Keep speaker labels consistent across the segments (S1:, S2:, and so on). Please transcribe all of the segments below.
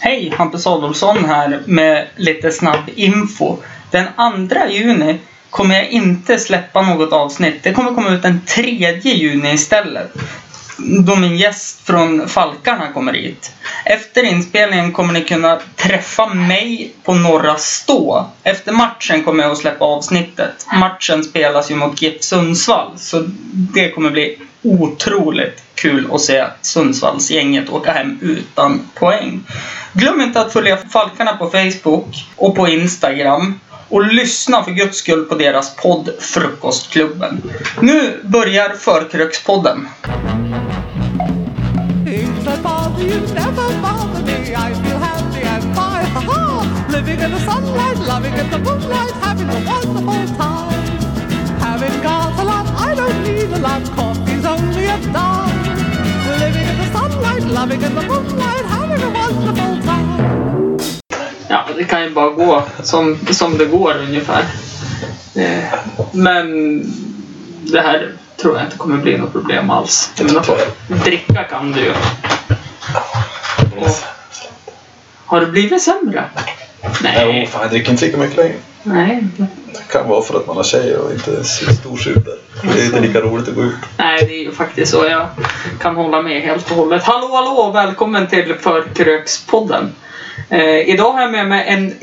S1: Hej! Hampus Adolfsson här med lite snabb info. Den 2 juni kommer jag inte släppa något avsnitt. Det kommer komma ut den 3 juni istället. Då min gäst från Falkarna kommer hit. Efter inspelningen kommer ni kunna träffa mig på Norra Stå. Efter matchen kommer jag att släppa avsnittet. Matchen spelas ju mot GIF Sundsvall, så det kommer bli otroligt kul att se Sundsvallsgänget åka hem utan poäng. Glöm inte att följa Falkarna på Facebook och på Instagram. Och lyssna för guds skull på deras podd Frukostklubben. Nu börjar Förkrökspodden.
S2: Things that bother you never bother me. I feel happy and fine. Ha ha! Living in the sunlight, loving in the moonlight, having a wonderful time. Haven't got a lot, I don't need a lot. Coffee's only a dime. Living in the sunlight, loving in the moonlight, having a wonderful time.
S1: Ja, det kan ju bara gå som, som det går ungefär. Eh, Men det här tror jag inte kommer bli något problem alls. Jag menar, dricka kan du ju. Och, har det blivit sämre?
S3: Nej,
S1: Nej.
S3: fan, jag dricker inte lika mycket längre.
S1: Nej,
S3: Det kan vara för att man har tjejer och inte är så storsuper. Det är inte lika roligt att gå ut.
S1: Nej, det är ju faktiskt så. Jag kan hålla med helt och hållet. Hallå, hallå och välkommen till Förkrökspodden. Eh, idag har jag med mig en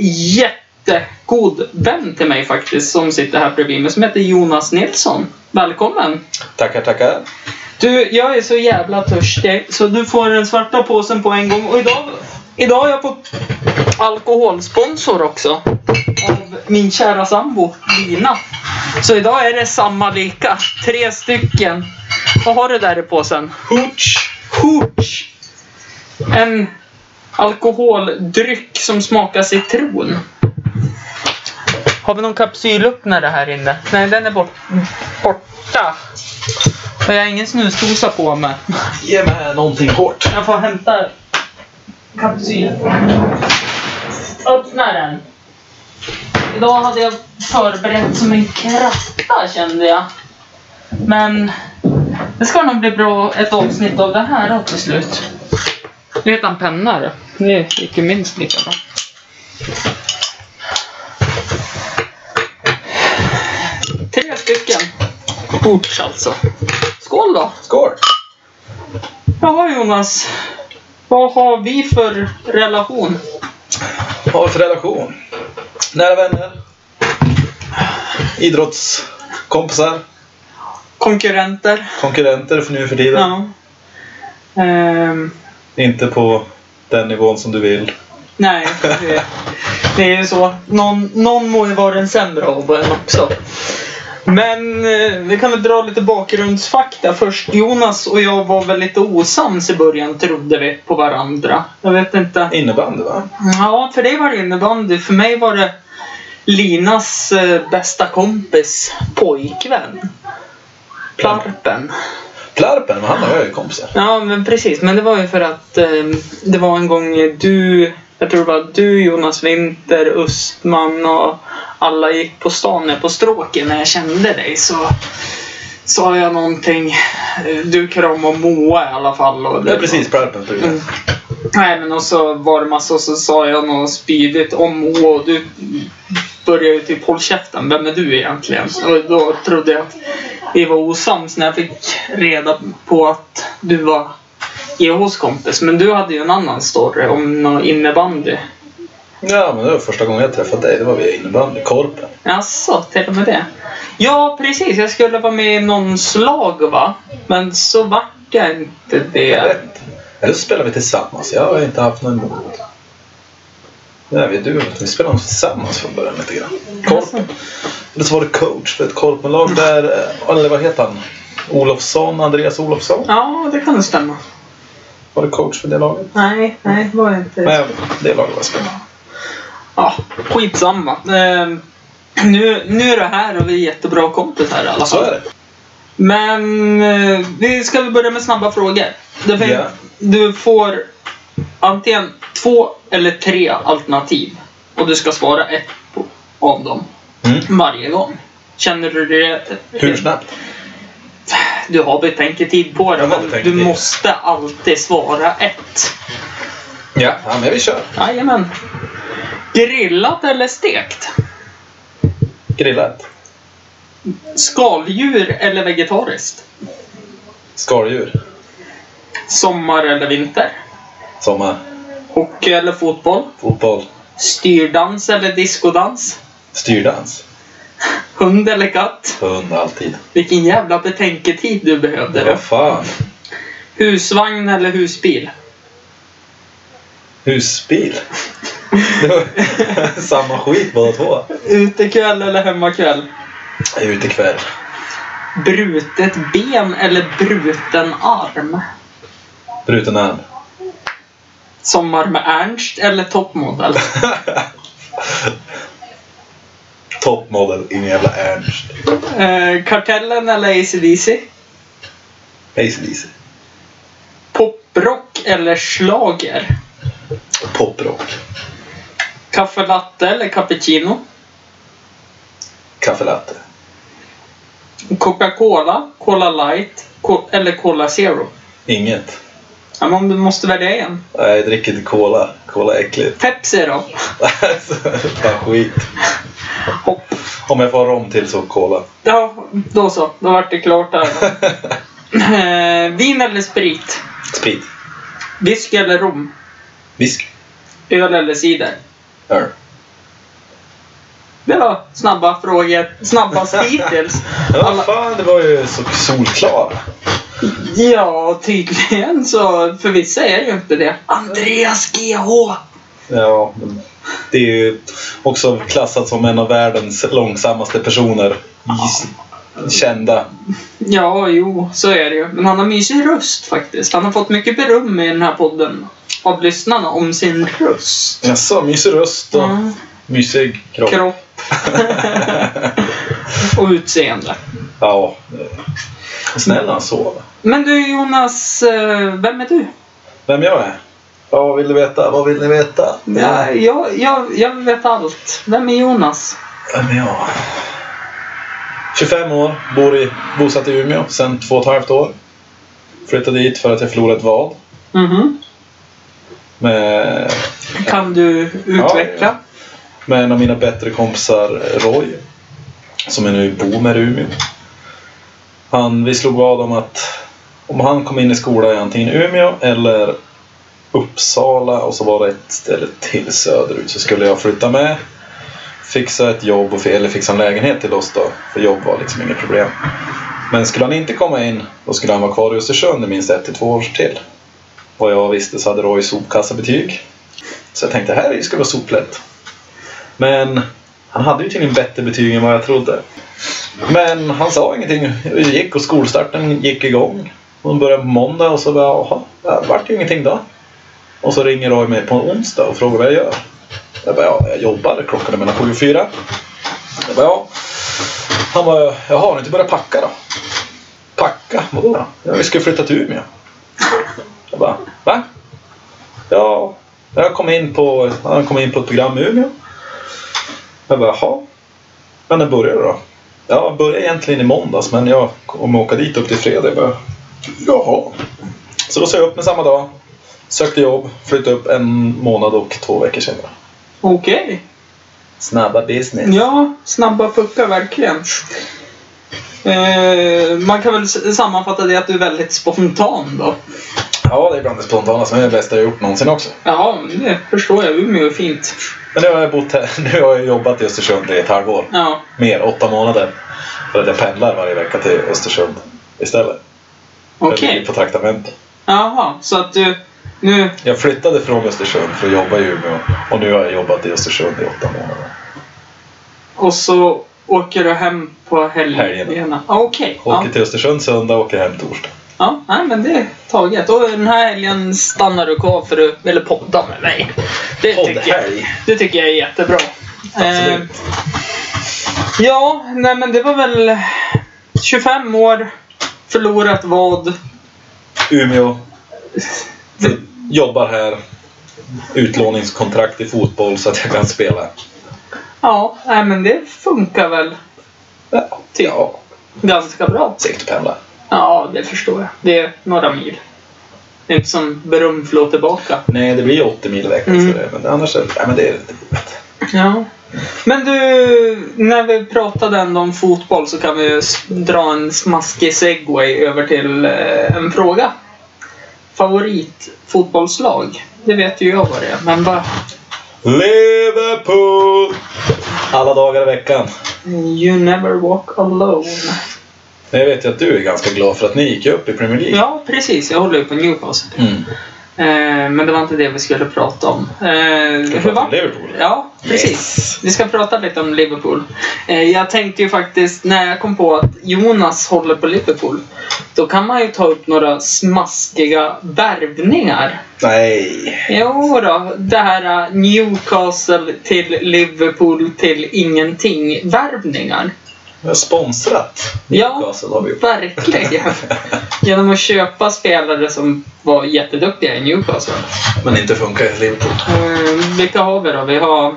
S1: jättegod vän till mig faktiskt som sitter här bredvid mig som heter Jonas Nilsson. Välkommen!
S3: Tackar, tackar.
S1: Du, jag är så jävla törstig så du får den svarta påsen på en gång. Och idag, idag har jag fått alkoholsponsor också. Av min kära sambo Lina. Så idag är det samma lika. Tre stycken. Vad har du där i påsen? Hooch. Hooch. En alkoholdryck som smakar citron. Har vi någon kapsylöppnare här inne? Nej, den är bort, borta. Jag har ingen snusdosa på mig.
S3: Ge mig någonting hårt.
S1: Jag får hämta kapsylen. Öppna den. Idag hade jag förberett som en kratta kände jag. Men det ska nog bli bra ett avsnitt av det här också till slut. Nu heter han penna då. Det gick ju minst lika bra. Tre stycken. Ports alltså. Skål då!
S3: Skål!
S1: Jaha Jonas. Vad har vi för relation?
S3: Vad har vi för relation? Nära vänner. Idrottskompisar.
S1: Konkurrenter?
S3: Konkurrenter för nu för tiden.
S1: Ja. Ehm,
S3: Inte på den nivån som du vill.
S1: nej, det, det är ju så. Någon, någon må ju vara den sämre av en också. Men eh, vi kan väl dra lite bakgrundsfakta först. Jonas och jag var väl lite osams i början trodde vi på varandra. Jag vet inte.
S3: Innebandy va?
S1: Ja, för dig var det innebandy. För mig var det Linas eh, bästa kompis pojkvän. Plarpen.
S3: Plarpen, men han har jag ju kompisar.
S1: Ja, men precis. Men det var ju för att eh, det var en gång du, jag tror det var du, Jonas Winter, Östman och alla gick på stan nere på stråken när jag kände dig. Så sa jag någonting. eh, Du kramade Moa i alla fall. Och
S3: Ja, precis. Plarpen. precis.
S1: Mm. Nej men och så var det massa och så sa jag något spydigt om Moa och du började ju typ håll käften, vem är du egentligen? Och då trodde jag att vi var osams när jag fick reda på att du var GHs kompis. Men du hade ju en annan story om någon innebandy.
S3: Ja, men det var första gången jag träffade dig. Det var via innebandy. Korpen.
S1: Jaså, till och med det? Ja precis, jag skulle vara med i någon slag va? Men så vart jag inte det.
S3: Rätt. Eller så spelar vi tillsammans. Jag har inte haft någon emot. Nej, vi, du, vi spelade tillsammans från början lite grann. Korpen. Eller så var det coach för ett korpenlag där, eh, eller vad heter han? Olofsson, Andreas Olofsson.
S1: Ja, det kan nog stämma.
S3: Var det coach för det laget?
S1: Nej, nej, det var jag inte.
S3: Nej, det laget var spännande.
S1: Ja, skitsamma. Eh, nu, nu är det här och vi är jättebra kompisar i alla
S3: Så
S1: fall.
S3: är det.
S1: Men eh, vi ska väl börja med snabba frågor. Det finns,
S3: Ja.
S1: Du får antingen två eller tre alternativ. Och du ska svara ett på, av dem
S3: Mm.
S1: varje gång. Känner du det?
S3: Hur snabbt?
S1: Du har betänketid på
S3: Jag
S1: det,
S3: har
S1: men du
S3: betänketid.
S1: måste alltid svara ett.
S3: Ja, ja men vi kör.
S1: Jajamän. Grillat eller stekt?
S3: Grillat.
S1: Skaldjur eller vegetariskt?
S3: Skaldjur.
S1: Sommar eller vinter?
S3: Sommar.
S1: Hockey eller fotboll?
S3: Fotboll.
S1: Styrdans eller diskodans?
S3: Styrdans.
S1: Hund eller katt?
S3: Hund alltid.
S1: Vilken jävla betänketid du behövde då.
S3: Vad fan.
S1: Husvagn eller husbil?
S3: Husbil. Det var samma skit båda två.
S1: Utekväll eller hemmakväll?
S3: Ut ikväll.
S1: Brutet ben eller bruten arm?
S3: Bruten arm.
S1: Sommar med Ernst eller toppmodell?
S3: Toppmodell. Ingen jävla Ernst.
S1: Eh, kartellen eller ACDC?
S3: ACDC.
S1: Poprock eller schlager?
S3: Poprock.
S1: Kaffe latte eller cappuccino?
S3: Kaffe latte.
S1: Coca-Cola, Cola light co- eller Cola zero?
S3: Inget.
S1: Ja, men du måste välja en.
S3: Nej, jag dricker inte cola. Cola är äckligt.
S1: Pepsi då?
S3: Fan skit.
S1: Hopp.
S3: Om jag får rom till så cola.
S1: Ja, då så. Då vart det klart där. Eh, vin eller sprit?
S3: Sprit.
S1: Whisky eller rom?
S3: Whisky.
S1: Öl eller cider?
S3: Öl.
S1: Det var snabba frågor. Snabbast hittills.
S3: Ja,
S1: Alla-
S3: vad fan, det var ju så solklar.
S1: Ja, tydligen så. För vissa är ju inte det. Andreas GH!
S3: Ja, men det är ju också klassat som en av världens långsammaste personer. I- Kända.
S1: Ja, jo, så är det ju. Men han har mysig röst faktiskt. Han har fått mycket beröm i den här podden av lyssnarna om sin röst.
S3: Jaså, mysig röst och
S1: Mm,
S3: mysig kropp.
S1: kropp och utseende.
S3: ja. eh, Snäll när han sover.
S1: Men du Jonas, eh, vem är du?
S3: Vem jag är? Ja, vad vill du veta? Vad vill ni veta?
S1: Ja, jag, jag, jag vet allt. Vem är Jonas?
S3: Vem är jag? 25 år, bor i, bosatt i Umeå sedan två och ett halvt år. Flyttade dit för att jag förlorade ett val.
S1: Mhm.
S3: Med,
S1: Kan du utveckla?
S3: med en av mina bättre kompisar, Roy. Som är nu bor med i Umeå. Han, vi slog vad om att om han kom in i skola i antingen Umeå eller Uppsala och så var det ett ställe till söderut så skulle jag flytta med. Fixa ett jobb och, eller fixa en lägenhet till oss då. För jobb var liksom inget problem. Men skulle han inte komma in då skulle han vara kvar i Östersund i minst ett till två år till. Vad jag visste så hade Roy sopkassabetyg. Så jag tänkte här är ju- ska vara soplätt. Men han hade ju tydligen bättre betyg än vad jag trodde. Men han sa ingenting. Vi gick och skolstarten gick igång. De började på måndag och så bara, jaha, det vart ju ingenting då. Och så ringer Roy mig på en onsdag och frågar vad jag gör. Jag bara, ja, jag jobbar. Klockan är mellan sju och fyra. Jag bara, ja. Han bara, jaha, har ni inte börjat packa då? Packa? Vadå då? Ja, vi ska ju flytta till Umeå. Jag bara, va? Ja, jag kom in på, han kom in på ett program i Umeå. Jag bara, jaha. Men när börjar det då? Ja, jag började egentligen i måndags men jag kommer åka dit upp till fredag. Jag bara, jaha. Så då sa jag upp mig samma dag. Sökte jobb, flyttade upp en månad och två veckor senare.
S1: Okej.
S3: Snabba business.
S1: Ja, snabba puckar verkligen. Eh, man kan väl s- sammanfatta det att du är väldigt spontan då.
S3: Ja, det är bland det spontana som är det bästa jag gjort någonsin också.
S1: Ja, men det förstår jag. Umeå är fint.
S3: Men nu har jag bott här, nu har jag jobbat i Östersund i ett halvår.
S1: Ja,
S3: Mer, åtta månader. För att jag pendlar varje vecka till Östersund istället. Jag
S1: okej.
S3: ligger på traktamente.
S1: Jaha, så att du nu...
S3: Jag flyttade från Östersund för att jobba i Umeå och nu har jag jobbat i Östersund i åtta månader.
S1: Och så åker du hem på helgerna.
S3: Helgerna.
S1: Ah, Okej.
S3: Åker
S1: Ja.
S3: till Östersund söndag och åker hem torsdag.
S1: ja, nej men det är taget. Och den här helgen stannar du kvar för du ville podda med mig. Det tycker jag,
S3: Poddhelg.
S1: det tycker jag är jättebra. Eh,
S3: Absolut.
S1: Ja, nej men det var väl 25 år, förlorat vad.
S3: Umeå. Jobbar här. Utlåningskontrakt i fotboll så att jag kan spela.
S1: Ja, nej men det funkar väl
S3: Ja, ja.
S1: ganska bra.
S3: segt att pendla.
S1: Ja, det förstår jag. Det är några mil. Det är inte som beröm för att tillbaka.
S3: Nej, det blir 80 mil i veckan.
S1: Mm.
S3: Så det, men annars är det, nej, men det är inte givet.
S1: Ja. Men du, när vi pratade ändå om fotboll så kan vi ju s- dra en smaskig segway över till eh, en fråga. Favoritfotbollslag? Det vet ju jag vad det är, men vad...
S3: Liverpool! Alla dagar i veckan.
S1: You never walk alone.
S3: Men Jag vet ju att du är ganska glad för att ni gick upp i Premier League.
S1: Ja, precis. Jag håller ju på Newcastle.
S3: Mm.
S1: Eh, men det var inte det vi skulle prata om. Eh,
S3: Ska vi
S1: hur
S3: prata om
S1: var
S3: Liverpool?
S1: Ja, precis.
S3: Yes.
S1: Vi ska prata lite om Liverpool. Eh, jag tänkte ju faktiskt, när jag kom på att Jonas håller på Liverpool, då kan man ju ta upp några smaskiga värvningar.
S3: Nej.
S1: Jo då, det här eh, Newcastle till Liverpool till ingenting-värvningar.
S3: Vi har sponsrat
S1: Ja.
S3: Newcastle har vi gjort.
S1: Verkligen. Genom att köpa spelare som var jätteduktiga i Newcastle.
S3: Men inte funkar i Liverpool.
S1: Eh, vilka har vi då? Vi har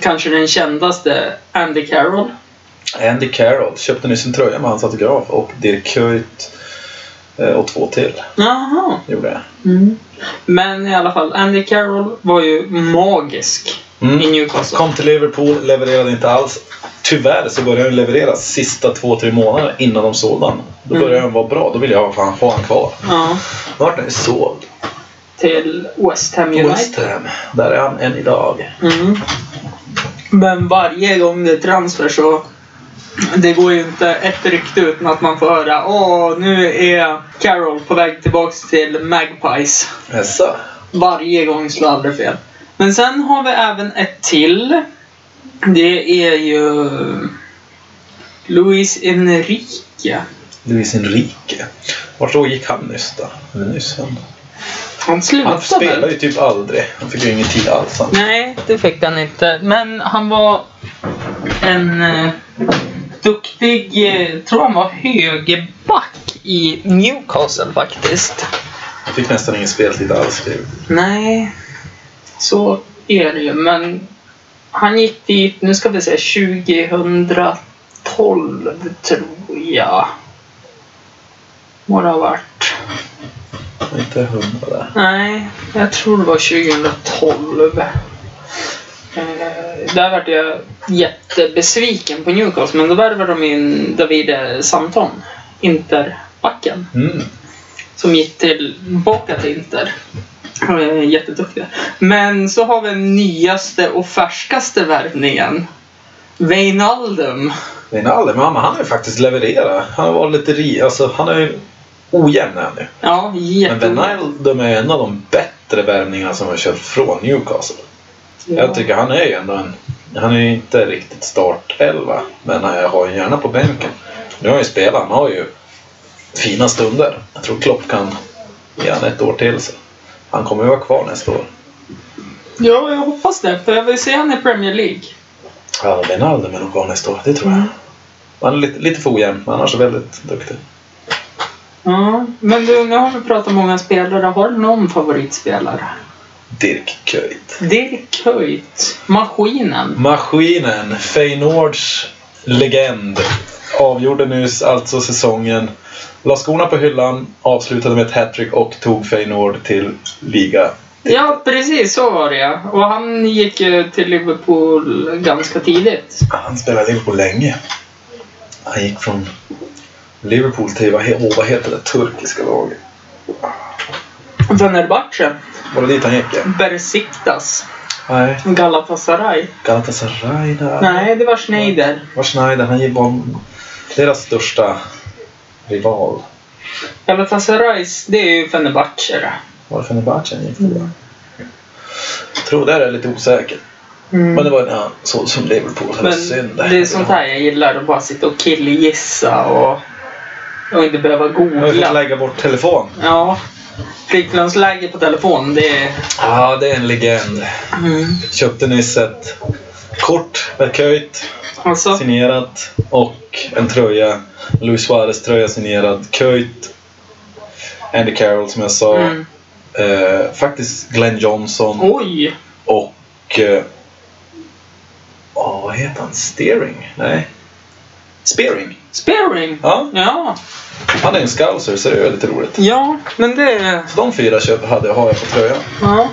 S1: kanske den kändaste Andy Carroll.
S3: Andy Carroll köpte nyss en tröja med hans autograf och Dirk Kuyt eh, och två till.
S1: Jaha.
S3: Gjorde jag.
S1: Mm. Men i alla fall, Andy Carroll var ju magisk
S3: Mm.
S1: i Newcastle.
S3: Kom till Liverpool, levererade inte alls. Tyvärr så började han leverera sista två, tre månader innan de sålde han. Då började han vara bra. Då ville jag fan ha han kvar.
S1: Ja,
S3: Nu vart han ju såld.
S1: till West Ham United.
S3: West Ham. Där är han än idag.
S1: Mm. Men varje gång det är transfer så... Det går ju inte ett rykte utan att man får höra Åh, nu är Carroll på väg tillbaks till Magpies.
S3: Jaså?
S1: Varje gång slår aldrig fel. Men sen har vi även ett till. Det är ju... Luis Enrique.
S3: Luis Enrique. Vart då gick han nyss då? Eller nyss han?
S1: Han
S3: Han
S1: slutade väl?
S3: spelade ju typ aldrig. Han fick ju ingen tid alls. Han.
S1: Nej, det fick han inte. Men han var en eh, duktig, eh, tror han var högerback i Newcastle faktiskt.
S3: han fick nästan ingen speltid alls. typ. Det är ju-
S1: Nej, så är det ju. Men han gick dit, nu ska vi se, 2012 tror jag. Må det ha varit.
S3: Inte hundra där.
S1: Nej, jag tror det var 2012. Eh, Där vart jag jättebesviken på Newcastle, men då värvade de in Davide Santon, Interbacken,
S3: Mm.
S1: som gick tillbaka till Inter. Eh, Jätteduktig. Men så har vi den nyaste och färskaste värvningen. Wijnaldum.
S3: Wijnaldum, ja, men han har ju faktiskt levererat. Han har varit lite ri... Alltså han är ju ojämn är han ju.
S1: Ja,
S3: Men
S1: jätte...
S3: Wijnaldum är en av de bättre värvningarna som har köpt från Newcastle. Jag tycker han är ju ändå en... Han är ju inte riktigt startelva, men jag har ju gärna på bänken. Nu har ju spelat, han har ju fina stunder. Jag tror Klopp kan ge han ett år till. Så. Han kommer ju vara kvar nästa år.
S1: Ja, jag hoppas det, för jag vill se han i Premier League.
S3: Ja, Wijnaldum är nog kvar nästa år, det tror jag.
S1: Mm.
S3: Han är lite, lite för ojämn, men annars är väldigt duktig.
S1: Ja, men du, nu har vi pratat många spelare. Har du någon favoritspelare?
S3: Dirk Kuyt.
S1: Dirk Kuyt. Maskinen.
S3: Maskinen, Feyenoords legend, avgjorde nyss alltså säsongen. La skorna på hyllan, avslutade med ett hattrick och tog Feyenoord till liga.
S1: Ja, precis så var det ja. Och han gick ju till Liverpool ganska tidigt.
S3: Han spelade i Liverpool länge. Han gick från Liverpool till, vad, he- åh, vad heter det turkiska laget?
S1: Fenerbahce.
S3: Var det dit han gick? ja?
S1: Besiktas.
S3: Nej.
S1: Galatasaray.
S3: Galatasaray där.
S1: Nej, det var Schneider.
S3: Var Schneider, han var deras största rival.
S1: Galatasarays, det är ju Fenerbahce det. Mm.
S3: Var det Fenerbahce han gick till? va? Jag tror det är lite osäkert. Men det var när han såg som Liverpool. Det var
S1: Men
S3: synd.
S1: det är sånt här jag gillar. Att bara sitta och killgissa och, och inte behöva
S3: Jag fick
S1: googla.
S3: lägga bort telefon.
S1: Ja. Flygplansläge på telefon, det är...
S3: Ja, det är en legend.
S1: Mm.
S3: Köpte nyss ett kort med Kuyt
S1: Alltså,
S3: signerat och en tröja. Luis Suarez tröja signerad. Kuyt. Andy Carroll som jag sa.
S1: mm. Oh.
S3: Eh, faktiskt Glenn Johnson
S1: Oj!
S3: och... Eh, åh, vad heter han? Steering? Nej. Spearing.
S1: Spearing?
S3: Ja,
S1: Ja.
S3: han är en scouser så det är väldigt roligt.
S1: Ja, men det...
S3: Så de fyra köp hade, har jag på tröjan.
S1: Ja.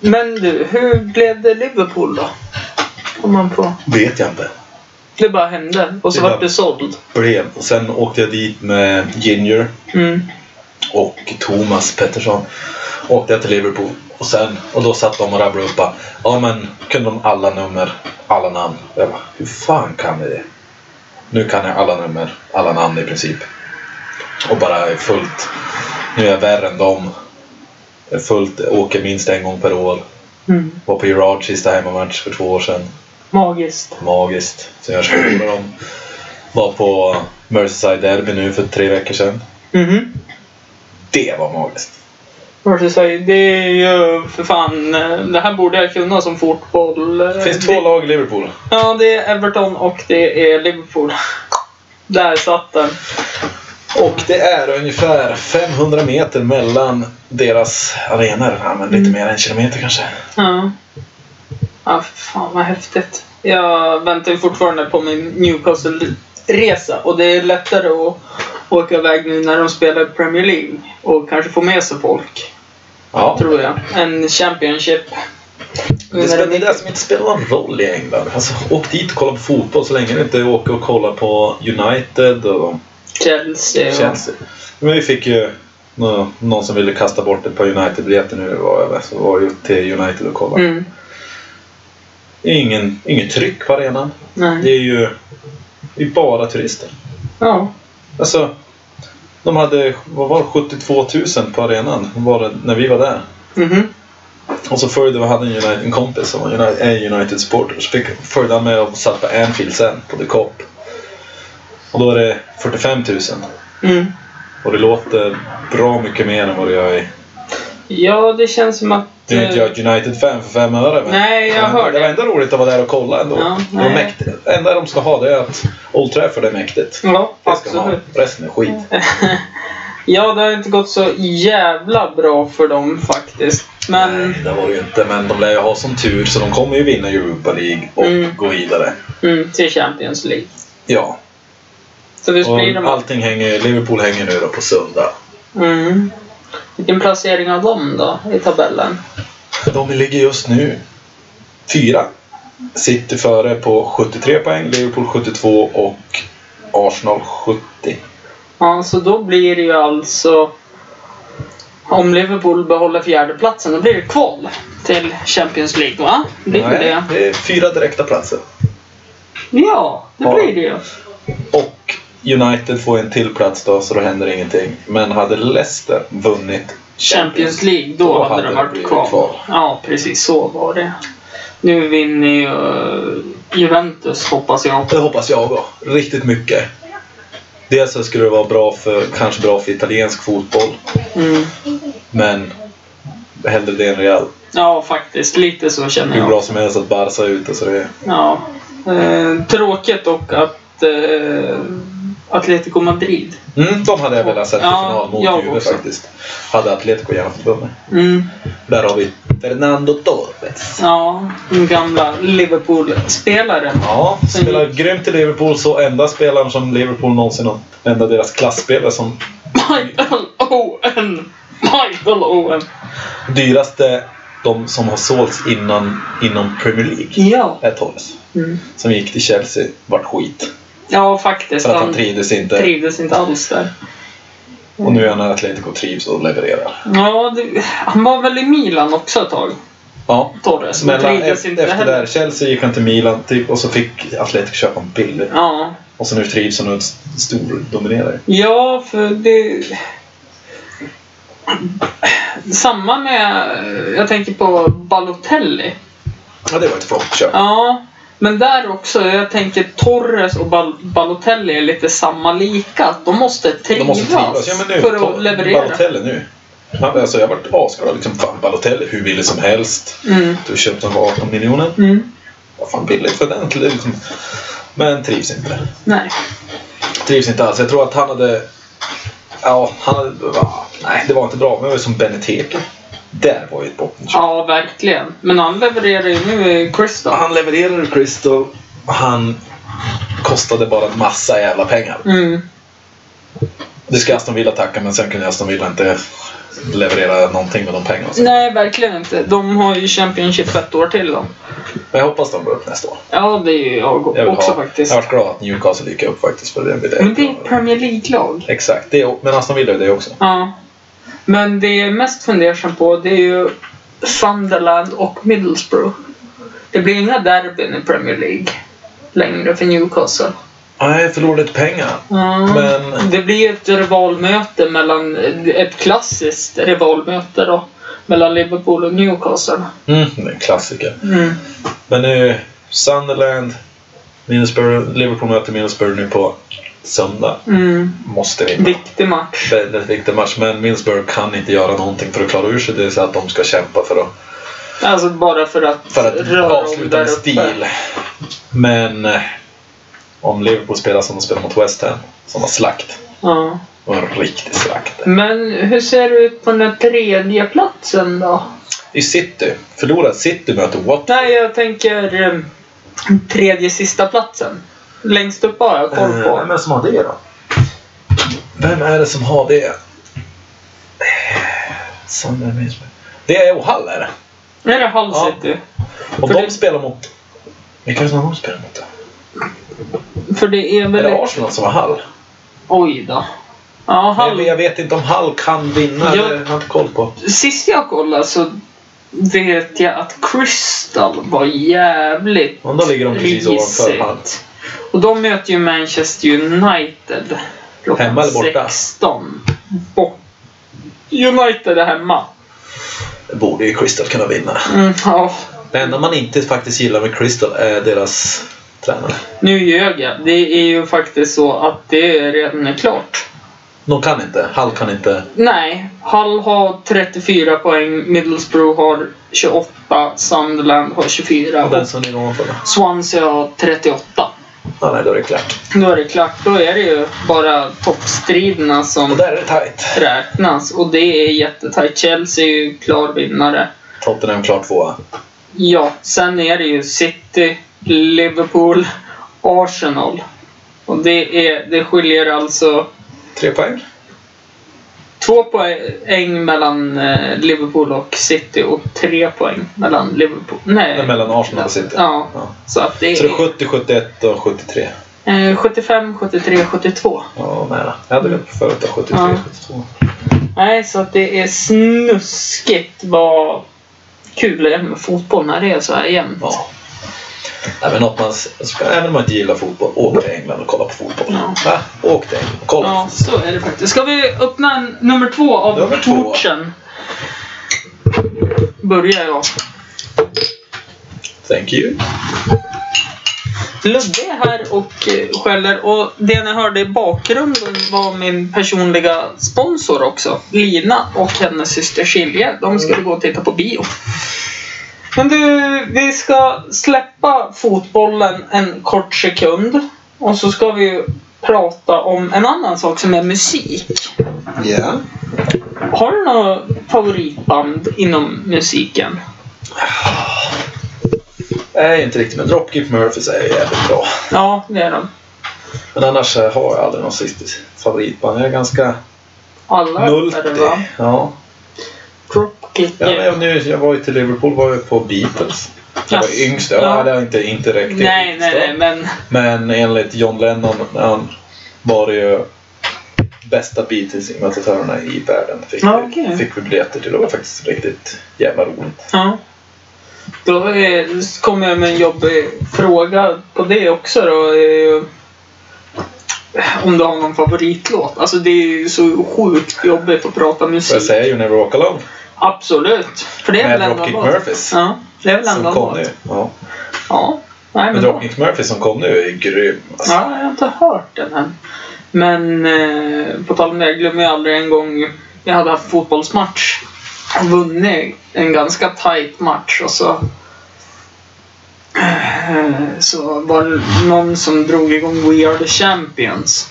S1: Men du, hur blev det Liverpool då? Om man får...
S3: Vet jag inte.
S1: Det bara hände och så
S3: Det bara-
S1: vart du såld.
S3: Blev. Och sen åkte jag dit med Ginger
S1: Mm.
S3: och Thomas Pettersson. Åkte jag till Liverpool. Och, sen, och då satt de och rabblade upp. bara, Ja men kunde de alla nummer, alla namn. Och jag bara, hur fan kan vi det? Nu kan jag alla nummer, alla namn i princip. Och bara är fullt. Nu är jag värre än dem. Jag är fullt, åker minst en gång per år.
S1: Mm.
S3: Var på Gerard sista hemmamatch för två år sedan.
S1: Magiskt.
S3: Magiskt. Som jag skriver om. Var på Merseyside Derby nu för tre veckor sedan.
S1: Mhm.
S3: Det var magiskt.
S1: Merseyside, det är ju för fan... eh, Det här borde jag kunna som fotboll. eh,
S3: Det finns
S1: det-
S3: två lag i Liverpool.
S1: Ja, det är Everton och det är Liverpool. Där satt den.
S3: Och det är ungefär 500 meter mellan deras arenor. Ja, men lite mer än en kilometer kanske.
S1: Ja. Ja, för fan vad häftigt. Jag väntar ju fortfarande på min Newcastle-resa och det är lättare att åka iväg nu när de spelar i Premier League och kanske få med sig folk,
S3: Ja.
S1: tror jag, än Championship.
S3: Det spelar det är det som inte spelar någon roll i England. Alltså, åk dit och kolla på fotboll så länge du inte åker och kollar på United och
S1: Chelsea. och-
S3: Chelsea. Men vi fick ju nå- någon som ville kasta bort ett par United-biljetter nu det var över. Så var ju till United och kollade.
S1: Mm.
S3: Ingen, inget tryck på arenan. Det
S1: Nej.
S3: är ju det är bara turister.
S1: Ja.
S3: Alltså, de hade vad var det, 72 000 på arenan var det, när vi var där.
S1: Mhm.
S3: Och så följde vi, hade en, United, en kompis som var United, är United supporter. Så fick, följde han med och satt på Anfield sen, på The Cop. Och då är det 45 000.
S1: Mm.
S3: Och det låter bra mycket mer än vad det gör i...
S1: Ja, det känns som att...
S3: Det är inte
S1: eh,
S3: jag United-fan för fem öre. Men
S1: Nej, jag
S3: men
S1: hör
S3: det.
S1: det.
S3: var ändå roligt att vara där och kolla ändå.
S1: Ja,
S3: det var
S1: nej.
S3: mäktigt. Det enda de ska ha det är att Old Trafford är mäktigt.
S1: Ja,
S3: Det ska de ha.
S1: absolut.
S3: Resten är skit.
S1: Ja, det har inte gått så jävla bra för dem faktiskt. Men...
S3: Nej, det var det ju inte. Men de lär ju ha som tur så de kommer ju vinna Europa League och
S1: Mm.
S3: gå vidare.
S1: Mm, till Champions League.
S3: Ja,
S1: Så det sprider
S3: och
S1: man.
S3: allting hänger, Liverpool hänger nu då på söndag.
S1: Mm. Vilken placering har de då i tabellen?
S3: De ligger just nu fyra. City före på 73 poäng, Liverpool 72 och Arsenal 70.
S1: Ja, så då blir det ju alltså... Om Liverpool behåller fjärdeplatsen, då blir det kval till Champions League, va? Blir det det?
S3: det är fyra direkta platser.
S1: Ja, det
S3: Ja.
S1: blir det ju.
S3: Och United får en till plats då, så då händer ingenting. Men hade Leicester vunnit
S1: Champions League, då, hade de
S3: det
S1: varit
S3: blivit
S1: kval. Ja, precis så var det. Nu vinner ju eh, Juventus, hoppas jag.
S3: Det hoppas jag också. Riktigt mycket. Dels så skulle det vara bra för, kanske bra för italiensk fotboll.
S1: Mm.
S3: Men hellre det än Real.
S1: Ja, faktiskt. Lite så känner
S3: Hur
S1: jag.
S3: bra som helst att Barca är ute. Så det är...
S1: Ja. Eh, tråkigt dock att eh, Atletico Madrid.
S3: mm, de hade jag velat sett i
S1: Ja,
S3: final
S1: jag
S3: mot Juve
S1: också.
S3: faktiskt. Hade Atletico gärna fått vunnit.
S1: Mm.
S3: Där har vi Fernando Torres.
S1: Ja, den gamla Liverpool-spelaren.
S3: Ja, spelar
S1: Mm.
S3: grymt i Liverpool. Så enda spelaren som Liverpool någonsin har... Enda deras klassspelare som
S1: Michael Owen! Michael Owen!
S3: dyraste. De som har sålts innan, inom Premier League
S1: Ja.
S3: är Torres.
S1: Mm.
S3: Som gick till Chelsea. Vart skit.
S1: Ja, faktiskt.
S3: För att han
S1: Han
S3: trivdes inte.
S1: trivdes inte alls där.
S3: Och nu är han i Atletico och trivs och levererar.
S1: Ja, det, han var väl i Milan också ett tag,
S3: Ja.
S1: Torres. Men
S3: Mellan,
S1: trivdes
S3: efter
S1: inte
S3: efter
S1: heller.
S3: där, Chelsea gick han till Milan typ, och så fick Atletico köpa en billig.
S1: Ja.
S3: Och så nu trivs han och st- stordominerar.
S1: Ja, för det... Samma med... Jag tänker på Balotelli.
S3: Ja, det var ett floppköp.
S1: Ja, men där också. Jag tänker Torres och Bal- Balotelli är lite samma lika. att De måste
S3: De
S1: trivas,
S3: måste trivas. Ja, men nu,
S1: för
S3: ta-
S1: att leverera.
S3: Balotelli nu. Han, alltså, jag varit asglad. Liksom, fan, Balotelli, hur billig som helst.
S1: Mm.
S3: Du köpte honom för 18 miljoner.
S1: Mm.
S3: Vad fan billigt för den? Liksom. Men trivs inte.
S1: Nej.
S3: Trivs inte alls. Jag tror att han hade... Ja, han hade... va, Nej, det var inte bra. Men det var ju som Beneteke. Där var ju ett bottenköp.
S1: Ja, verkligen. Men han levererar ju nu i Crystal.
S3: Han levererar i Crystal. Han kostade bara en massa jävla pengar.
S1: Mm.
S3: Det ska Aston Villa tacka, men sen kunde Aston Villa inte leverera någonting med de pengarna.
S1: Nej, verkligen inte. De har ju Championship ett år till då.
S3: Men jag hoppas de går upp nästa år.
S1: Ja, det är ju jag
S3: Jag vill
S1: också
S3: ha,
S1: faktiskt.
S3: Jag har varit glad att Newcastle gick upp faktiskt. För det blir det.
S1: Men det är ett Premier League-lag.
S3: Exakt, det är, men Aston Villa är det också.
S1: Ja. Men det jag är mest fundersam på det är ju Sunderland och Middlesbrough. Det blir inga derbyn i Premier League längre för Newcastle.
S3: Nej, förlorade lite pengar.
S1: Ja.
S3: Men-
S1: Det blir ett rivalmöte mellan, ett klassiskt rivalmöte då, mellan Liverpool och Newcastle.
S3: Mm, det är en klassiker. Men nu, Sunderland, Middlesbrough, Liverpool möter Middlesbrough nu på söndag.
S1: Mm.
S3: Måste vinna.
S1: Viktig match.
S3: Väldigt viktig match, men Middlesbrough kan inte göra någonting för att klara ur sig. Det är så att de ska kämpa för att,
S1: Alltså bara för att,
S3: för att avsluta med stil. Men eh, om Liverpool spelar som de spelar mot West Ham, som var slakt.
S1: Ja.
S3: Det var en riktig slakt.
S1: Men hur ser det ut på den här tredje platsen då?
S3: I City, förlorade City möter Watford.
S1: Nej, jag tänker eh, tredje sista platsen. Längst upp har jag koll
S3: Eh, Vem är
S1: på.
S3: det som har det då? Vem är det som har det? Eh, Sandra Middlesbrough. Det är Ohall är det.
S1: Är det Hull
S3: Ja.
S1: City?
S3: Och
S1: För
S3: de
S1: det-
S3: spelar mot... Vilka är det som de spelar mot då?
S1: För det är
S3: Är
S1: väl...
S3: det Arsenal som har Hall?
S1: Oj då. Ja,
S3: Men
S1: Hull.
S3: jag vet inte om Hall kan vinna.
S1: Jag-
S3: Jag... Det har jag inte koll på.
S1: Sist jag kollade så vet jag att Crystal var jävligt
S3: Men då ligger de precis ovanför Hall.
S1: risigt. Och de möter ju Manchester United klockan
S3: Hemma eller borta?
S1: 16. Bort. United är hemma.
S3: Det borde ju Crystal kunna vinna.
S1: Mm, ja.
S3: Det enda man inte faktiskt gillar med Crystal är deras tränare.
S1: Nu ljög jag. Det är ju faktiskt så att det är redan är klart.
S3: De kan inte. Hall kan inte.
S1: Nej, Hull har 34 poäng, Middlesbrough har 28, Sunderland har 24
S3: Och den
S1: och
S3: som ligger ovanför. då?
S1: Swansea har 38.
S3: Ja, nej, då är det klart.
S1: Då är det klart. Då är det ju bara toppstriderna
S3: Och
S1: som
S3: där är det tajt.
S1: räknas och det är jättetajt. Chelsea är ju klar vinnare.
S3: Tottenham klart tvåa.
S1: Ja, sen är det ju City, Liverpool, Arsenal. Och det, är, det skiljer alltså
S3: Tre poäng.
S1: Två poäng mellan eh, Liverpool och City och tre poäng mellan Liverpool. Nej.
S3: Nej, mellan Arsenal och City.
S1: Ja. Så att det
S3: Så det är
S1: är
S3: 70, 71 och 73.
S1: eh, 75, 73, 72.
S3: Ja, nära. Jag hade det förut då, 73,
S1: Mm. Ja.
S3: 72.
S1: Nej, så att det är snuskigt vad kul det är med fotboll när det är så här jämnt.
S3: Ja. Nej, men något man, ska, även om man inte gillar fotboll, åk till England och kolla på fotboll.
S1: Ja.
S3: Va? Åk till England och kolla.
S1: Ja, så är det faktiskt. Ska vi öppna en- nummer två av
S3: Nummer två.
S1: torchen? Börjar jag.
S3: Thank you.
S1: Ludde är här och eh, skäller och det ni hörde i bakgrunden var min personliga sponsor också. Lina och hennes syster Silje. De skulle gå och titta på bio. Men du, vi ska släppa fotbollen en kort sekund och så ska vi ju prata om en annan sak som är musik.
S3: Ja.
S1: Har du några favoritband inom musiken?
S3: Nej, inte riktigt. Men Dropkick Murphys är ju jävligt bra.
S1: Ja, det är de.
S3: Men annars eh, har jag aldrig något riktigt favoritband. Jag är ganska
S1: Alla
S3: multi.
S1: va?
S3: Ja.
S1: Dropkick.
S3: Ja, men jag, nu, jag var ju till Liverpool var jag på Beatles. Jag var
S1: Yes.
S3: yngst. Jag
S1: Ja.
S3: hade inte, inte räckt till
S1: Nej, nej,
S3: yngst
S1: nej,
S3: då.
S1: men
S3: Men enligt John Lennon han var det ju bästa Beatles-imitatörerna i världen. Fick,
S1: Ja, okej.
S3: fick vi biljetter till. Det var faktiskt riktigt jävla roligt.
S1: Ja. Då eh, kommer jag med en jobbig fråga på det också då. eh, Om du har någon favoritlåt. Alltså det är ju så sjukt jobbigt att prata
S3: Får jag
S1: musik.
S3: säga You Never Walk Alone?
S1: Absolut. För det är
S3: Med
S1: väl ändå en
S3: Dropkick
S1: låt.
S3: Murphys.
S1: Ja, det är väl
S3: Som
S1: ändå en
S3: kom
S1: låt.
S3: nu. Ja.
S1: Ja. Nej,
S3: Men
S1: men då.
S3: Dropkick Murphys som kom nu är grym. Alltså.
S1: Ja, jag har inte hört den än. Men eh, på tal om det, jag glömmer ju aldrig en gång jag hade haft fotbollsmatch. Och vunnit en ganska tight match och så eh, så var det någon som drog igång We Are The Champions.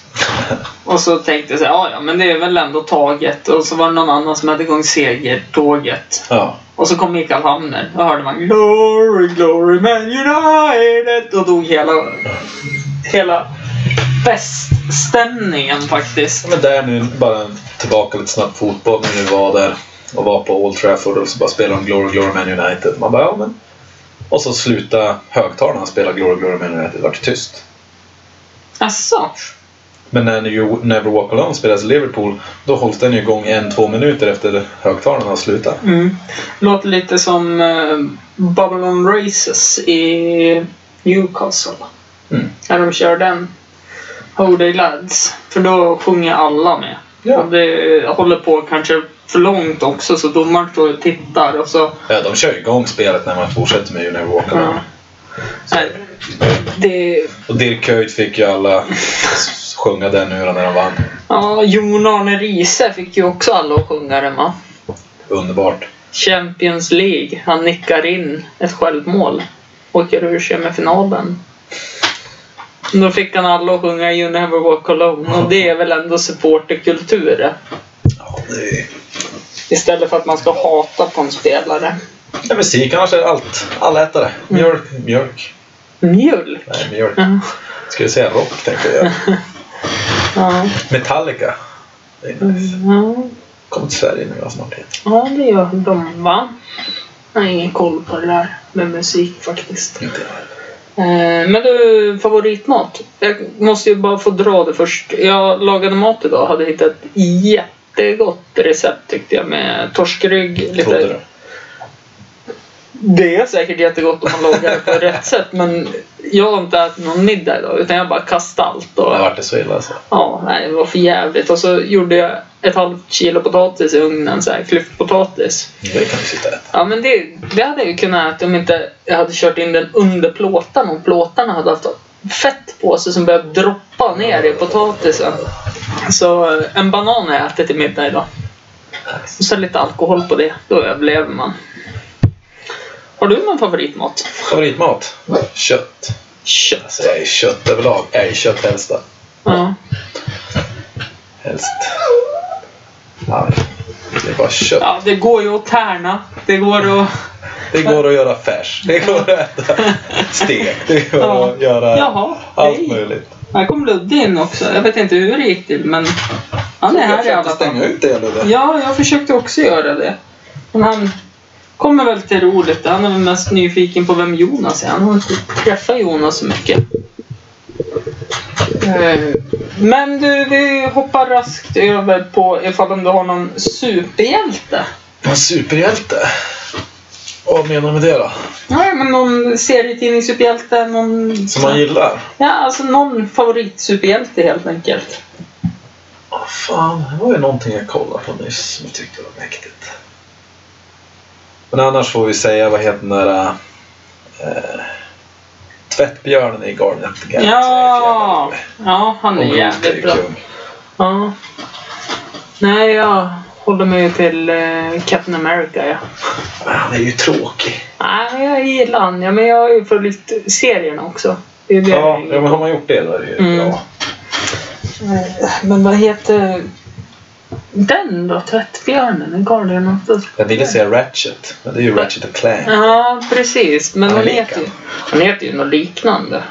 S1: Och så tänkte jag så här, "Ja, ja men det är väl ändå taget. Och så var det någon annan som hade igång segertåget.
S3: Ja.
S1: Och så kom Mikael Hamner. Då hörde man Glory, glory man united. Då dog hela hela feststämningen faktiskt.
S3: Men där nu bara tillbaka lite snabbt fotboll när vi var där och var på Old Trafford och så bara spelade de Glory Glory Man United. Man bara, ja men. Och så slutade högtalarna spela Glory Glory Man United. Det vart tyst.
S1: Asså?
S3: Men när You Never Walk Alone spelas i Liverpool då hålls den ju igång en, två minuter efter högtalarna har slutat.
S1: Mm. Låter lite som uh, Babylon Races i Newcastle.
S3: Mm.
S1: När de kör den. Holy Lads. För då sjunger alla med.
S3: Ja.
S1: Och det håller på kanske för långt också så domaren står och tittar och så...
S3: Ja, de kör ju igång spelet när man fortsätter med You Never Walk Alone.
S1: Ja. Nej, Det,
S3: Och Dirk Höjd fick ju alla s- sjunga den nu då när de vann.
S1: ja, Jon Arne Riise fick ju också alla att sjunga den va?
S3: Underbart.
S1: Champions League. Han nickar in ett självmål. Åker ur semifinalen. Då fick han alla att sjunga You Never Walk Alone och det är väl ändå supporterkultur.
S3: Ja, det är...
S1: Istället för att man ska hata på en spelare.
S3: Nej, musik annars är allt. Allätare.
S1: Mm.
S3: Mjölk. Mjölk.
S1: Mjölk.
S3: Nej, mjölk.
S1: Ja.
S3: Skulle säga rock tänkte jag.
S1: Mm. Ja.
S3: Metallica. Det är
S1: Mm.
S3: nice.
S1: Ja.
S3: Kommer till Sverige nu va, snart. igen.
S1: ja, det gör de va? Jag har ingen koll på det där med musik faktiskt.
S3: Inte jag.
S1: Eh, Men du, favoritmat? Jag måste ju bara få dra det först. Jag lagade mat idag hade hittat ett jättegott recept tyckte jag med torskrygg.
S3: Trodde
S1: Lite.
S3: du.
S1: Det är säkert jättegott om man lagar det på rätt sätt men jag har inte ätit någon middag idag utan jag bara kastade allt. Och,
S3: Det vart det så illa alltså.
S1: Ja, nej, det var för jävligt. Och så gjorde jag ett halvt kilo potatis i ugnen, så här, klyftpotatis.
S3: Det kan du sitta och äta.
S1: Ja, men det, det hade jag ju kunnat äta om inte jag hade kört in den under plåtarna och plåtarna hade haft fett på sig som började droppa ner i potatisen. Så eh, en banan har jag ätit till middag idag. Och sen lite alkohol på det. Då överlever man. Har du någon favoritmat?
S3: Favoritmat?
S1: Mm.
S3: Kött.
S1: Kött.
S3: Alltså jag är kött överlag. Jag är köttäldsta.
S1: Ja.
S3: Helst. Ja, det är bara kött.
S1: ja, det går ju att tärna. Det går att...
S3: Det går att göra färs. Det går att äta stekt. Det går
S1: Ja.
S3: att göra
S1: Jaha,
S3: allt
S1: hej.
S3: möjligt.
S1: Här kom Ludde in också. Jag vet inte hur det gick till men han är här i alla fall.
S3: ut det eller det.
S1: Ja, jag försökte också göra det. Men han kommer väl till ro lite. Han är väl mest nyfiken på vem Jonas är. Han har inte träffat Jonas så mycket. Eh, Men du, vi hoppar raskt över på ifall om du har någon superhjälte.
S3: En superhjälte. Vad menar du med det då?
S1: Nej, men någon serietidningssuperhjälte, någon...
S3: Som man gillar?
S1: Ja, alltså någon favoritsuperhjälte helt enkelt.
S3: Åh Ah, fan, det var ju någonting jag kollade på nyss som jag tyckte var mäktigt. Men annars får vi säga, vad heter den där... Eh, tvättbjörnen i Garden of the Galaxy.
S1: Ja, ja han är
S3: Och Groot är
S1: jävligt
S3: ju
S1: bra.
S3: kung.
S1: Ja. Nej, jag håller mig till eh, Captain America. Ja.
S3: Men Ah, han är ju tråkig.
S1: Nej, jag gillar han. Ja, men jag har ju följt serierna också. Det är det
S3: Ja,
S1: jag
S3: ja, men har man gjort det då är det ju
S1: Mm.
S3: bra.
S1: Eh, Men vad heter den då? Tvättbjörnen? En Guardian of the...
S3: Jag ville säga Ratchet, men det är ju Ratchet och Clank.
S1: Ja, precis. Men
S3: Han är
S1: han
S3: lik
S1: heter, ju, han heter ju något liknande.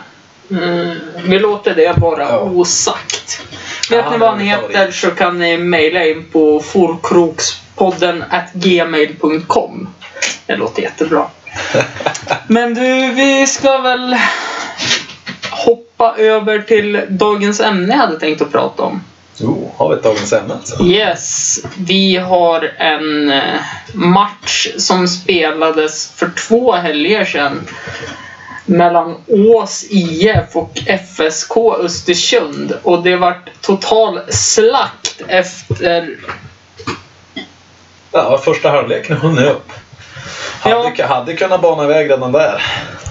S1: Mm, vi låter det vara
S3: Ja.
S1: osagt. Vet
S3: Ja,
S1: ni vad han
S3: det är
S1: heter
S3: favorit.
S1: så kan ni mejla in på forkrokspodden gmail.com. Det låter jättebra. Men du, vi ska väl hoppa över till dagens ämne jag hade tänkt att prata om.
S3: Jo, har vi ett dagens ämne alltså?
S1: Yes, vi har en eh, match som spelades för två helger sedan mellan Ås IF och FSK Östersund och det vart total slakt efter...
S3: Ja, första halvleken höll ni upp. Hade, hade kunnat bana iväg redan där.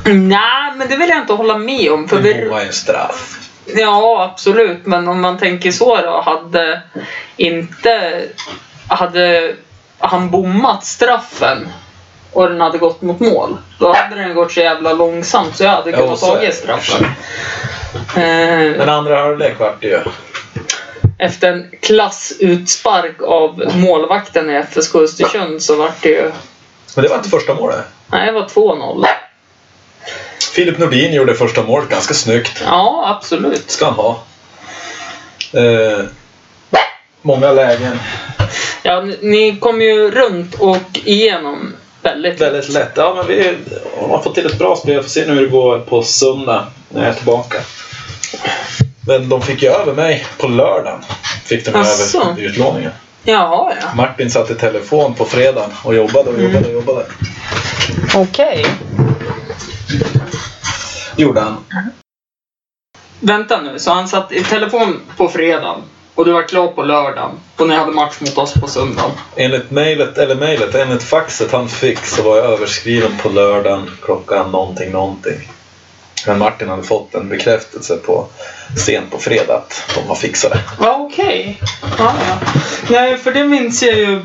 S1: Nej, men det vill jag inte hålla med om. För
S3: Det
S1: vi...
S3: var ju en straff.
S1: Ja, absolut. Men om man tänker så då. Hade inte... Hade han bommat straffen och den hade gått mot mål. Då hade den gått så jävla långsamt så jag hade
S3: Ja,
S1: kunnat
S3: så är
S1: tagit
S3: det.
S1: straffen. Eh,
S3: Men andra halvlek vart det ju.
S1: efter en klassutspark av målvakten i FSK Östersund så vart det ju...
S3: Men det var inte första målet.
S1: Nej, det var 2-0.
S3: Filip Nordin gjorde första målet ganska snyggt.
S1: Ja, absolut.
S3: Ska han ha. Eh, många lägen.
S1: Ja, ni- ni kom ju runt och igenom väldigt
S3: Väldigt lätt. Ja, men vi har fått till ett bra spel. Jag får se nu hur det går på söndag när jag är tillbaka. Men de fick ju över mig på lördagen. Fick de
S1: Asså?
S3: över utlåningen.
S1: Jaha, ja.
S3: Martin satt i telefon på fredagen och jobbade och jobbade och jobbade.
S1: Okej.
S3: Gjorde han.
S1: Vänta nu, så han satt i telefon på fredagen och du var klar på lördagen och ni hade match mot oss på söndagen.
S3: Enligt mejlet, eller mejlet, enligt faxet han fick så var jag överskriven på lördagen klockan någonting någonting. Men Martin hade fått en bekräftelse på sent på fredag att de har fixat det.
S1: Ja, okej. Ja, ja. Nej, för det minns jag ju.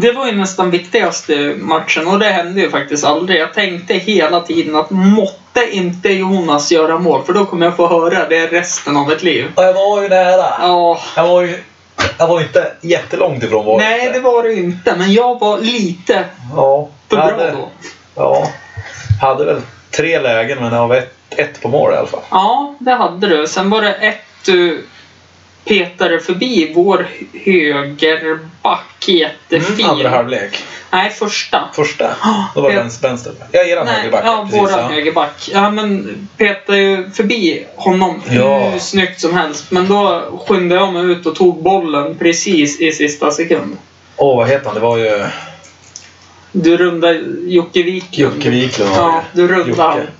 S1: Det var ju nästan viktigaste matchen och det hände ju faktiskt aldrig. Jag tänkte hela tiden att måtte inte Jonas göra mål för då kommer jag få höra det resten av ett liv.
S3: Och jag var ju nära.
S1: Ja.
S3: Jag var ju jag var inte jättelångt ifrån målet.
S1: Nej, det var det inte. Men jag var lite
S3: Ja,
S1: för
S3: jag
S1: bra
S3: hade,
S1: då.
S3: Ja. Jag hade väl tre lägen men jag var ett, ett på mål i alla fall.
S1: Ja, det hade du. Sen var det ett du petade förbi vår högerback jättefin.
S3: Mm, Andra halvlek.
S1: Nej, första.
S3: Första.
S1: Ja,
S3: Då var det
S1: jag-
S3: vänster. vänster. Ja, eran
S1: Nej,
S3: högerback.
S1: ja,
S3: precis,
S1: våran högerback. Ja, men petade ju förbi honom
S3: Ja.
S1: hur snyggt som helst. Men då skyndade jag mig ut och tog bollen precis i sista sekund.
S3: Åh, vad heter han? Det var ju
S1: Du rundade Jocke Wiklund.
S3: Jocke Wiklund. var
S1: Ja,
S3: det.
S1: du rundade han.
S3: Jocke.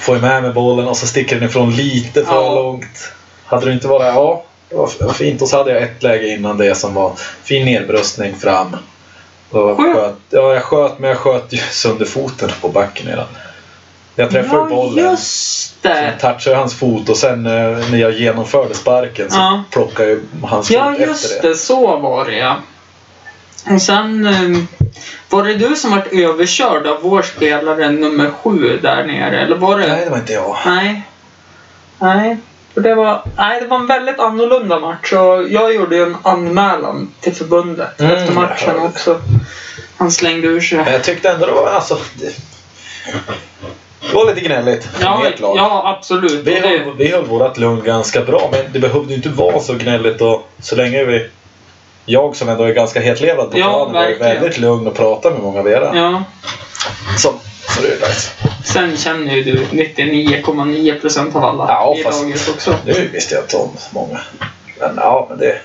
S3: Får ju med mig bollen och så sticker den ifrån lite för
S1: Ja.
S3: långt. Hade du inte varit... Ja, det var f- fint. Och så hade jag ett läge innan det som var fin nedbröstning fram. Då
S1: Sköt.
S3: sköt, ja, jag sköt, men jag sköt ju sönder foten på backen redan. Jag träffade bollen.
S1: Ja, just
S3: Jag
S1: det.
S3: touchade hans fot och sen eh, när jag genomförde sparken så
S1: Ja.
S3: plockade jag hans
S1: Ja,
S3: fot Alltså, efter
S1: just det. Så var det ja. Och sen eh, var det du som vart överkörd av vår spelare nummer sju där nere, eller var det?
S3: Nej, det var inte jag.
S1: Nej. Nej. För det var, nej, det var en väldigt annorlunda match och jag gjorde ju en anmälan till förbundet
S3: Mm,
S1: efter
S3: jag
S1: matchen
S3: hörde.
S1: också. Han slängde ur
S3: Men
S1: sig.
S3: jag tyckte ändå det var... Alltså, det, det var lite gnälligt.
S1: Ja,
S3: Helt klart.
S1: ja absolut.
S3: Vi
S1: Och det-
S3: höll, vi höll vårat lugn ganska bra, men det behövde ju inte vara så gnälligt. Och så länge vi... Jag som ändå är ganska hetlevrad på
S1: Ja,
S3: planen var ju
S1: verkligen.
S3: väldigt lugn och pratade med många av era.
S1: ja.
S3: Så, så det är ju dags.
S1: Sen känner ju du 99,9% av alla
S3: Ja,
S1: i
S3: fast-
S1: laget också.
S3: Nu visste jag inte om många. Men ja, men det...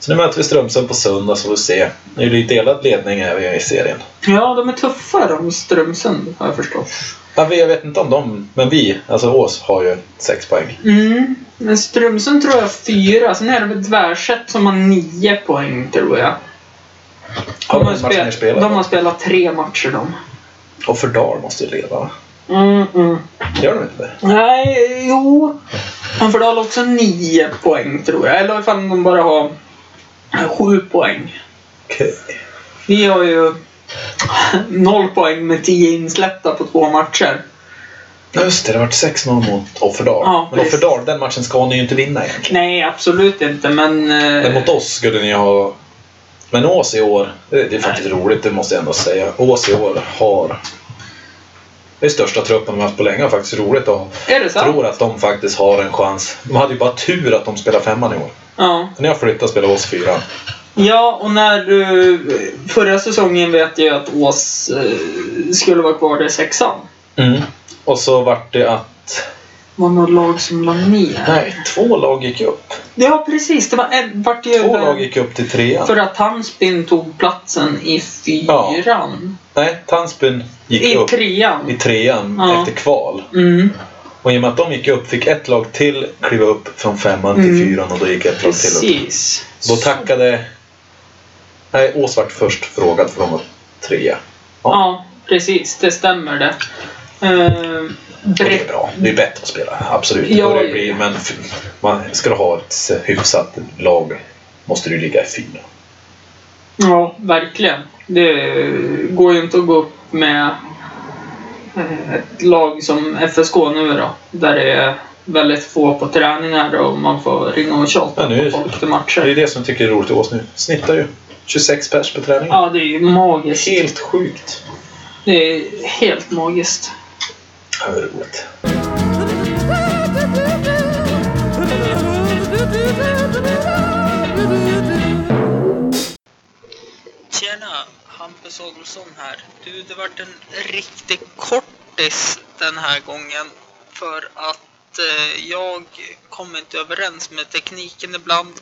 S3: Så nu möter vi Strömsund på söndag så får vi se. Nu är det ju delad ledning här vi är i serien.
S1: Ja, de är tuffa de Strömsund har jag förstått.
S3: Ja, vi- jag vet inte om dem, men vi, alltså Ås, har ju sex poäng.
S1: Mm. Men Strömsund tror jag har fyra, sen är det väl Tvärsätt som har nio poäng tror jag.
S3: Har de
S1: har
S3: en match mer
S1: spelat,
S3: spelad?
S1: de har spelat tre matcher de.
S3: Och Fördal måste ju leda, va?
S1: Mm, mm.
S3: Gör de inte det?
S1: Nej, jo. Men Fördal har också nio poäng tror jag. Eller ifall de bara har sju poäng.
S3: Okej.
S1: Vi har ju noll poäng med tio insläppta på två matcher.
S3: Ja, Just det, det har varit 6-0 mot Offerdal.
S1: Ja,
S3: men
S1: precis.
S3: Offerdal, den matchen ska ni ju inte vinna egentligen.
S1: Nej, absolut inte, men... eh,
S3: Men mot oss skulle ni ha... Men Ås i år, det det är faktiskt roligt, det måste jag ändå säga. Ås i år har... Det är största truppen de har haft på länge. Faktiskt roligt och
S1: Är det så?
S3: tror att de faktiskt har en chans. De hade ju bara tur att de spelar femman i år.
S1: Ja.
S3: När jag flyttade spelade Ås fyran.
S1: Ja, och när du... Förra säsongen vet jag ju att Ås eh, skulle vara kvar där i sexan.
S3: Mm. Och så vart det att...
S1: Det var något lag som la ner.
S3: Nej, två lag gick upp.
S1: Ja, precis. Det var en... Vart ju
S3: Två lag gick upp till trean.
S1: För att Tandsbyn tog platsen i fyran.
S3: Nej, Tandsbyn gick
S1: I
S3: upp i
S1: trean.
S3: trean
S1: Ja.
S3: efter kval.
S1: Mm,
S3: Och i och med att de gick upp fick ett lag till kliva upp från femman till
S1: Mm.
S3: fyran och då gick ett lag till upp.
S1: precis.
S3: Då tackade... Nej, Ås vart först frågad för de var trea.
S1: Ja, precis. Det stämmer det. Uh,
S3: Och det är bra. Det är bättre att spela, absolut.
S1: Ja,
S3: Och det
S1: ja.
S3: blir, men f- man ska du ha ett hyfsat lag måste du ligga i fyra.
S1: Ja, verkligen. Det går ju inte att gå upp med eh, ett lag som FSK nu då. Där det är väldigt få på träningar och man får ringa och
S3: Ja,
S1: tjata
S3: nu-
S1: på folk till
S3: Det är
S1: matcher.
S3: det som jag tycker är roligt i Ås nu. Snittar ju 26 pers på träningen.
S1: Ja, det är ju magiskt.
S3: Helt sjukt.
S1: Det är helt magiskt.
S3: Ja, Det är roligt.
S4: Tjena, Hampus Adolfsson här. Du, det vart en riktig kortis den här gången. För att eh, jag kommer inte överens med tekniken ibland.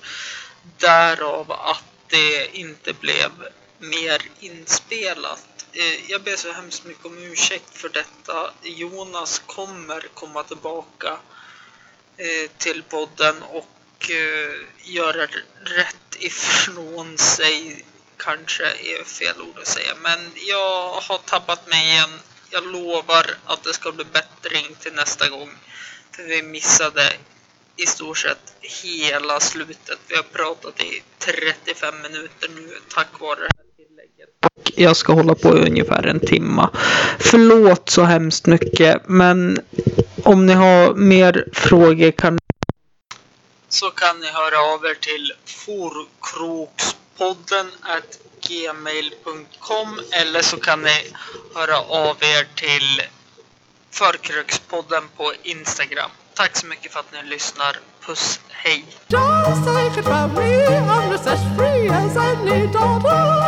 S4: Därav att det inte blev mer inspelat. Eh, jag ber så hemskt mycket om ursäkt för detta. Jonas kommer komma tillbaka eh, till podden och eh, göra r- rätt ifrån sig kanske är fel ord att säga men jag har tappat mig igen. Jag lovar att det ska bli bättring till nästa gång. För vi missade i stort sett hela slutet. Vi har pratat i 35 minuter nu tack vare det här tillägget. Och Jag ska hålla på i ungefär en timma. Förlåt så hemskt mycket men om ni har mer frågor kan så kan ni höra av er till forkrokspodden at gmail.com eller så kan ni höra av er till förkrökspodden på Instagram. Tack så mycket för att ni lyssnar. Puss, hej!
S2: Just take it from me, I'm just as free as any daughter.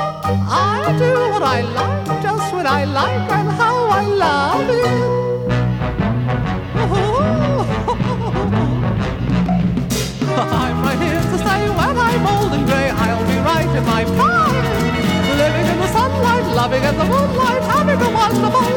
S2: I do what I like, just what I like, and how I love it. I'm right here to say when I'm old and grey, I'll be right in my prime. Living in the sunlight, loving in the moonlight, having a wonderful